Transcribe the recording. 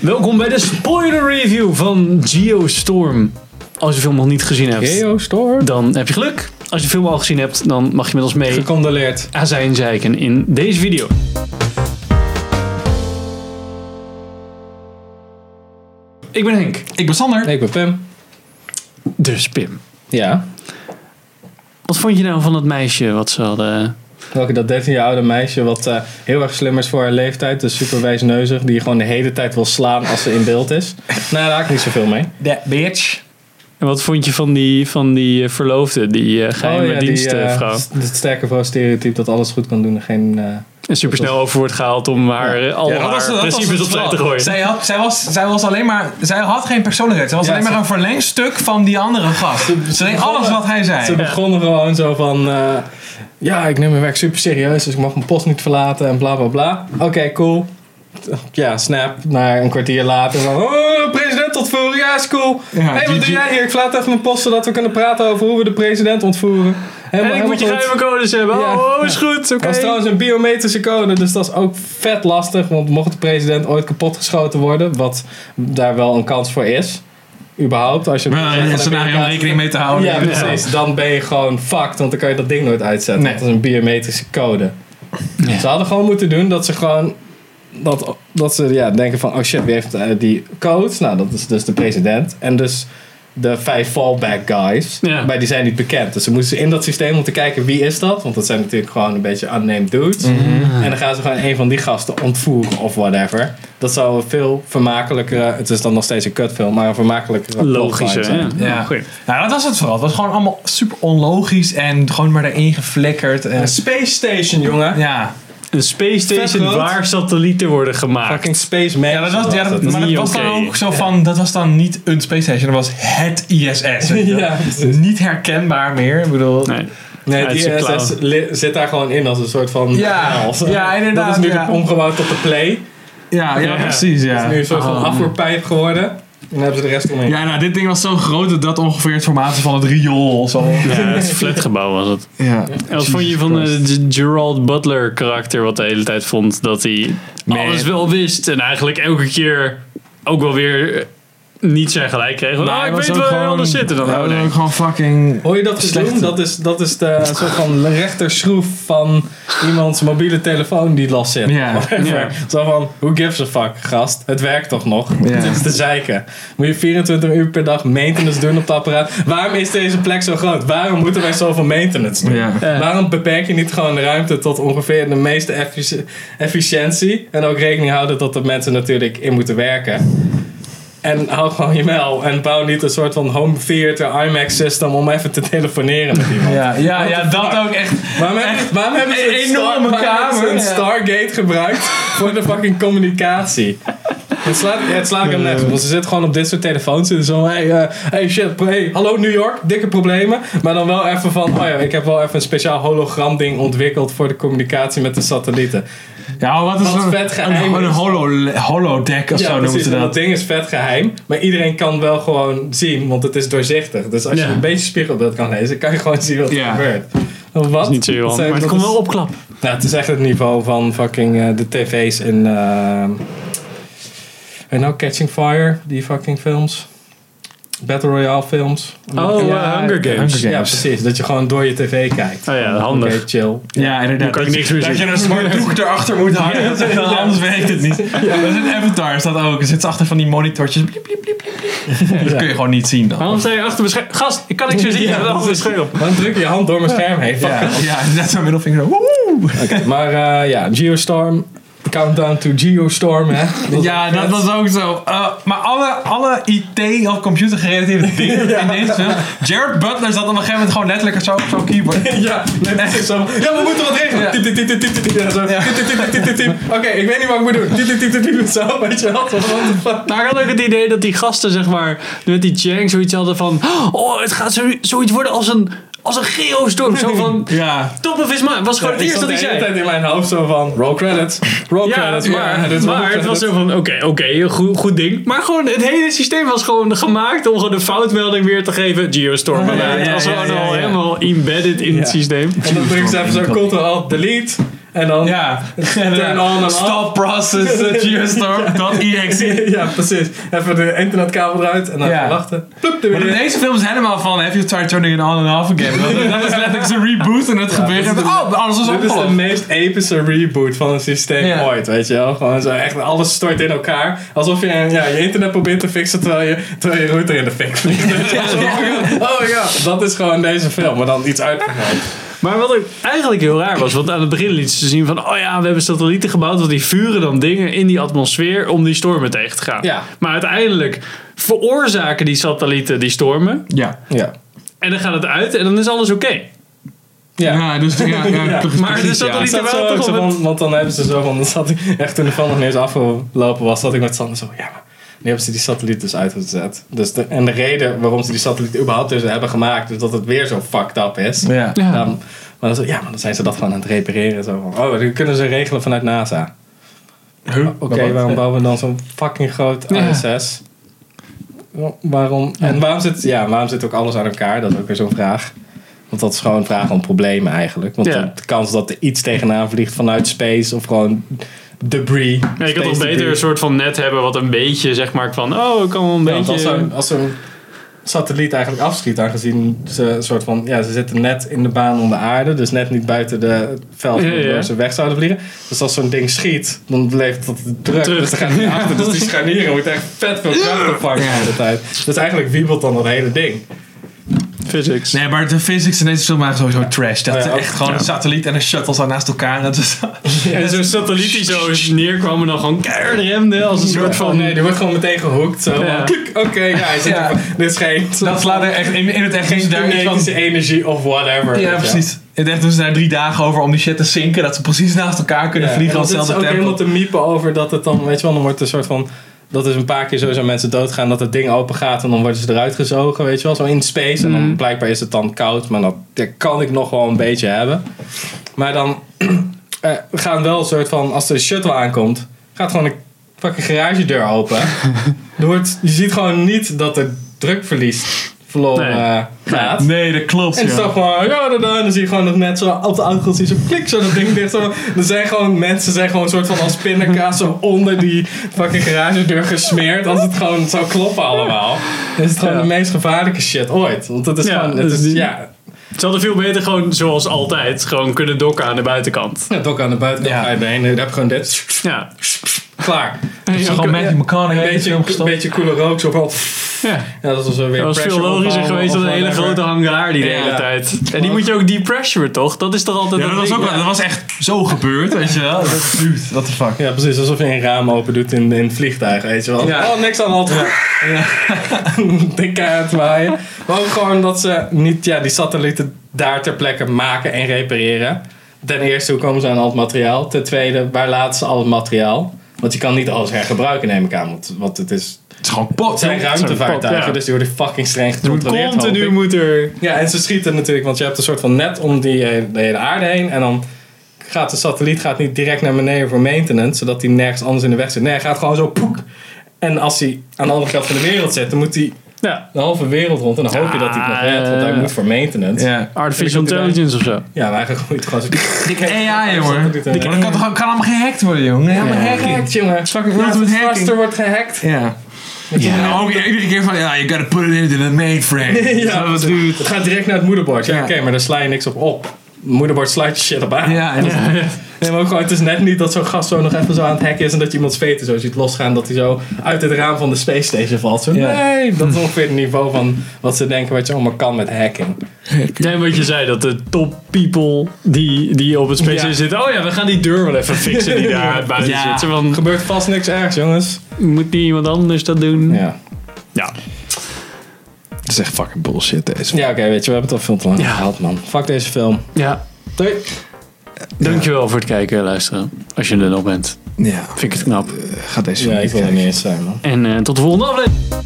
Welkom bij de spoiler review van Geostorm. Als je de film nog niet gezien hebt, Geo Storm. dan heb je geluk. Als je de film al gezien hebt, dan mag je met ons mee Gecondoleerd. azijn zeiken in deze video. Ik ben Henk, Ik ben Sander. Ik ben Pim. dus Pim. Ja. Wat vond je nou van dat meisje wat ze hadden? Welke dat 13 jaar oude meisje wat eh, heel erg slim is voor haar leeftijd. Dus super wijsneuzig. Die je gewoon de hele tijd wil slaan als ze in beeld is. Nou, daar raak ik niet zoveel mee. That bitch. En wat vond je van die, van die eh, verloofde, die eh, geheime Oh ja, die, eh, dienstvrouw? st- Het sterke vrouw stereotype dat alles goed kan doen. en Geen, eh, en supersnel over wordt gehaald om haar, eh, Oh, al haar principes opzij te gooien. Zij had, zij, was, zij was alleen maar. Zij had geen persoonlijkheid. Zij was Ja, alleen maar ze- een verlengstuk van die andere gast. Ze deed alles wat hij Ze zei. begonnen gewoon zo van... eh, ja, ik neem mijn werk super serieus. Dus ik mag mijn post niet verlaten. En bla bla bla. Oké, cool. Ja, snap. Naar een kwartier later van... Oh, president ontvoeren. Ja, is cool. Ja, hey, wat GG. doe jij hier? Ik laat even mijn post zodat we kunnen praten over hoe we de president ontvoeren. Helemaal, En ik moet je helemaal goed. geheime codes hebben. Ja. Oh, oh, is goed. Oké. Dat is trouwens een biometrische code, dus dat is ook vet lastig. Want mocht de president ooit kapotgeschoten worden, wat daar wel een kans voor is, überhaupt. Als je Maar van een scenario om Amerika- rekening mee te houden. Ja, precies. Dan ben je gewoon fucked, want dan kan je dat ding nooit uitzetten. Nee. Dat is een biometrische code. Ja. Ze hadden gewoon moeten doen dat ze gewoon... Dat, dat ze ja, denken van, oh shit, wie heeft eh, die code? Nou, dat is dus de president. En dus de vijf fallback guys. Ja. Maar die zijn niet bekend. Dus ze moesten in dat systeem om te kijken wie is dat. Want dat zijn natuurlijk gewoon een beetje unnamed dudes. En dan gaan ze gewoon een van die gasten ontvoeren of whatever. Dat zou een veel vermakelijkere... Het is dan nog steeds een kutfilm, maar een vermakelijkere... plot Logische. zijn. Ja. Ja. Goed. Nou, dat was het vooral. Het was gewoon allemaal super onlogisch en gewoon maar erin geflikkerd. En, Een space station, jongen. ja. Een space station groot. waar satellieten worden gemaakt. Fucking space man. Ja, dat was, ja, dat, is maar dat niet was oké. dan ook zo van, dat was dan niet een space station, dat was het ISS. weet je wel. Ja, precies. niet herkenbaar meer. Ik bedoel, Nee. Nee, Ja, die het is een ISS li- zit daar gewoon in als een soort van... Ja, als- ja, inderdaad, Dat is nu ja. omgebouwd tot de play. ja, ja, Ja. precies. Ja. Ah. Dat is nu een soort van afvoerpijp geworden. En dan hebben ze de rest omheen. Ja, nou, dit ding was zo groot dat dat ongeveer het formaat is van het riool. Zo. Ja, het flatgebouw was het. Ja. En wat vond je van eh, de Gerald Butler karakter wat de hele tijd vond dat hij alles wel wist en eigenlijk elke keer ook wel weer eh, niet zijn gelijk kreeg. Want, Nou, ah, ik weet wel gewoon, anders zitten dan. Oh, nee. ook gewoon fucking... Hoor je dat gedoe? Slechte. Dat is, dat is de soort van rechterschroef van iemands mobiele telefoon die last zit. Ja. Ja. Zo van, who gives a fuck, gast? Het werkt toch nog? Ja. Dit is te zeiken. Moet je 24 uur per dag maintenance doen op het apparaat? Waarom is deze plek zo groot? Waarom moeten wij zoveel maintenance doen? Ja. Ja. Waarom beperk je niet gewoon de ruimte tot ongeveer de meeste effici- efficiëntie? En ook rekening houden dat de mensen natuurlijk in moeten werken. En hou gewoon je mel. En bouw niet een soort van home theater IMAX system om even te telefoneren met iemand. Ja, ja, ja, What the dat fuck? ook echt. Waarom, hebben- waarom hebben ze een enorme Star- waarom hebben ze kamer, een ja. Stargate gebruikt voor de fucking communicatie? Het slaat, ja, het slaat ik hem net op. Want ze zitten gewoon op dit soort telefoons. En zo, hey, eh, hey shit, pro- hey, hallo New York, dikke problemen. Maar dan wel even van, oh ja, ik heb wel even een speciaal hologram ding ontwikkeld voor de communicatie met de satellieten. Ja, maar wat is Wat een, vet een, geheim een is. holo, holodeck of zo noemen precies, ze want dat. ding is vet geheim. Maar iedereen kan wel gewoon zien, want het is doorzichtig. Dus als Ja. je een beetje spiegelbeeld kan lezen, kan je gewoon zien wat er Ja. gebeurt. Wat? Niet zo heel handig, Zijn- Maar het kon dat is- wel opklappen. Nou, het is echt het niveau van fucking eh, de tv's in. eh, en nou Catching Fire, die fucking films. Battle Royale films. Oh, ja, eh, Hunger Games. Ja, Hunger Games. precies. Dat je gewoon door je tv kijkt. Oh ja, Oké, handig. chill. Ja, inderdaad. Dan kan ik niks meer dat zien. je een zwart doek erachter moet hangen. dat is- Anders werkt het niet. Dat is in Avatar, is dat ook. Er zit achter van die monitortjes. Bliep, bliep, bliep, bliep, bliep. Dat kun je gewoon niet zien dan. Waarom sta je achter mijn scherm? Gast, ik kan niks meer zien. Ja, Ja, achter mijn scherm. Dan druk je hand door mijn scherm heen. Fuck. Ja, ja, net zo'n middelvinger. Woehoe! Oké, maar eh, ja, Geostorm. Countdown to Geostorm, hè? Ja, dat was ook zo. Eh, maar alle, alle IT- of computergerelateerde dingen in deze film. Jared Butler zat op een gegeven moment gewoon letterlijk zo op zo'n keyboard. Ja, nee, dat is zo. Ja, we moeten wat regelen. Ja. Tip, tip, tip, tip, tip, tip, tip. Ja, zo. Tip, tip, tip, tip, tip, tip. Oké, ik weet niet wat ik moet doen. Tip, tip, tip, tip, tip. Zo, weet je wel. Zo, what the fuck. Maar ik had ook het idee dat die gasten, zeg maar, met die Chang zoiets hadden van... Oh, het gaat zo, zoiets worden als een, als een geostorm. Zo van, Ja. top of his mind. was gewoon het Ik eerste zat dat de hij hele zei. tijd in mijn hoofd zo van... Roll credits. Roll Ja, dat credits. is waar. dit is roll maar het was credits. zo van, oké, oké, een goed, goed ding. Maar gewoon, het hele systeem was gewoon gemaakt om gewoon een foutmelding weer te geven. Geostorm. ja, het was ja, gewoon ja, al ja. helemaal embedded in het systeem. En dan druk ze even zo ctrl alt delete. En dan... Ja. Turn on and off. Stop process uh, geostorm.exe. Ja, precies. Even de internetkabel eruit en dan Ja. even wachten. Plup, er Maar weer in in. deze film is helemaal van, have you tried turning it on and off again? Dat, dat is letterlijk zo'n reboot en het gebeurt. dit is de- oh, alles was Dit is de opgelost. meest epische reboot van een systeem Ja. ooit, weet je wel. Gewoon zo echt, alles stort in elkaar. Alsof je ja, je internet probeert te fixen terwijl je, terwijl je router in de fik vliegt. Oh ja, dat is gewoon deze film, maar dan iets uitgebreid. Maar wat ik eigenlijk heel raar was, want aan het begin liet ze zien van, oh ja, we hebben satellieten gebouwd, want die vuren dan dingen in die atmosfeer om die stormen tegen te gaan. Ja. Maar uiteindelijk veroorzaken die satellieten die stormen Ja. Ja. en dan gaat het uit en dan is alles oké. Ja. Ja, dus ja, ja, Ja. precies, Maar precies, dus dat ja. er Is niet- dat Terwijl zo, ook toch zo op van- want dan hebben ze zo van, dan zat ik echt toen de film nog niet eens afgelopen was, zat ik met Sander zo, ja maar, nu hebben ze die satelliet dus uitgezet. Dus de, en de reden waarom ze die satelliet überhaupt dus hebben gemaakt, is dat het weer zo fucked up is. Ja. Ja. Daarom- maar dan, zo, ja, maar dan zijn ze dat gewoon aan het repareren. Zo. van, Oh, dat kunnen ze regelen vanuit NASA. Oké, waarom bouwen we dan zo'n fucking groot Ja. ISS? Waarom, en waarom zit, ja, waarom zit ook alles aan elkaar? Dat is ook weer zo'n vraag. Want dat is gewoon een vraag om problemen eigenlijk. Want Ja. de, de kans dat er iets tegenaan vliegt vanuit space of gewoon debris. Ja, ik had toch space beter een debris. soort van net hebben wat een beetje, zeg maar, van, oh, ik kan wel een Ja, want beetje... als zo'n als zo'n satelliet eigenlijk afschiet, aangezien ze een soort van, ja, ze zitten net in de baan om de aarde, dus net niet buiten de het veld Ja, waardoor ja. ze weg zouden vliegen. Dus als zo'n ding schiet, dan levert dat druk, Terug. dus dan gaat hij naar achter. Dus die scharnieren moet echt vet veel kracht opvangen de hele tijd. Dus eigenlijk wiebelt dan dat hele ding. Physics. Nee, maar de physics in deze film waren sowieso trash. Dat Ja, is ook- echt gewoon een satelliet en een shuttle staan naast elkaar. En dat is, En zo'n satelliet die zo neerkwam en dan gewoon keihard remde als een soort Oh van... nee, die wordt gewoon meteen gehoekt. Zo. Ja. Klik, Oké, ja, hij zit Ja. er- dit is geen... dat slaat er echt in, in het echt Dus geen duidelijk van. kinetische energie of whatever. weet je Ja, wel. precies. Het echt doen ze daar drie dagen over om die shit te zinken. Dat ze precies naast elkaar kunnen Ja, vliegen en op dan hetzelfde zitten ze ook tempo. helemaal te miepen over dat het dan, weet je wel, dan wordt een soort van... Dat is een paar keer sowieso mensen doodgaan, dat het ding open gaat en dan worden ze eruit gezogen, weet je wel. Zo in space en Mhm. dan blijkbaar is het dan koud, maar dat, dat kan ik nog wel een beetje hebben. Maar dan eh, we gaan wel een soort van, als de shuttle aankomt, gaat gewoon een fucking garagedeur open. er wordt, je ziet gewoon niet dat er drukverlies verloren Nee. eh, gaat. Nee, dat klopt. En ja. het is dan gewoon, ja, da, da. En dan zie je gewoon nog net zo op de achtergrond zie je zo klik zo dat ding dicht. Zo. Er zijn gewoon mensen, zijn gewoon een soort van als pindakaas zo onder die fucking garagedeur gesmeerd. Als het gewoon zou kloppen allemaal. Dan is het gewoon Ja. de meest gevaarlijke shit ooit. Want het is Ja, gewoon, het dus is, die- ja, Ze hadden veel beter gewoon, zoals altijd, gewoon kunnen dokken aan de buitenkant. het ook aan de buitenkant Ja. ga je benen. Dan heb je gewoon dit, Ja. klaar. Het is gewoon Matthew Oh, McConaughey Een in de beetje, film een gestopt. beetje koele rook, zo van, ja. ja, dat was wel weer Dat was veel pressure logischer opbouwen geweest dan of een hele whatever. grote hangar die de Ja. hele tijd. En die moet je ook depressure toch? Dat is toch altijd. Ja, dat een was ding? ook wel- dat was echt zo gebeurd, weet je wel. Dat is dude, what the fuck. Ja, precies. Alsof je een raam open doet in, in het vliegtuig, weet je wel. Ja. Oh, niks aan de hand. Dikke aan het waaien. Maar ook gewoon dat ze niet ja, die satellieten daar ter plekke maken en repareren. Ten eerste, hoe komen ze aan al het materiaal? Ten tweede, waar laten ze al het materiaal? Want je kan niet alles hergebruiken, neem ik aan. Want, want het, is, Het is gewoon pot. het zijn joh. ruimtevaartuigen, ja. dus die worden fucking streng Er moet gecontroleerd. hoop Continu ik. moet er. Ja, en ze schieten natuurlijk, want je hebt een soort van net om die, eh, de hele aarde heen. En dan gaat de satelliet gaat niet direct naar beneden voor maintenance, zodat hij nergens anders in de weg zit. Nee, hij gaat gewoon zo poek. En als hij aan de andere kant van de wereld zit, dan moet hij Ja. de halve wereld rond. En dan hoop je dat hij het nog redt, want hij moet voor maintenance. Ja, Ja. Artificial Ik heb intelligence of zo. maar eigenlijk moet het gewoon zo... AI, jongen. Dikke Dat kan, toch- kan allemaal gehackt worden, jongen. Helemaal hacking. Gehackt, jongen. Fucking Ja, het is hacking. Faster wordt gehackt. Ja. En ook iedere keer van, ja, you gotta put it into the mainframe. Ja, Dat is het gaat direct naar het moederbord. Ja, Ja. oké, maar daar sla je niks op op. Moederbord sluit je shit op aan. Ja, en Nee, maar ook gewoon, het is net niet dat zo'n gast zo nog even zo aan het hacken is en dat je iemands veten zo ziet losgaan, dat hij zo uit het raam van de space station valt. Zo, Ja. Nee, dat is ongeveer het niveau van wat ze denken wat je allemaal kan met hacking. Nee, wat je zei, dat de top people die, die op het space Ja. zitten. Oh ja, we gaan die deur wel even fixen die daar buiten Ja. zit. Zo Er van, gebeurt vast niks ergs, jongens. moet niet iemand anders dat doen? Ja, Ja. Het is echt fucking bullshit, deze. ja oké, weet je, we hebben het al veel te lang Ja. gehad, man. Fuck deze film. ja. Doei. Dankjewel voor het kijken en luisteren. Als je er nog bent. Ja, Vind ik het knap. gaat deze Ja, ik wil er niet eens zijn, man. En eh, tot de volgende aflevering.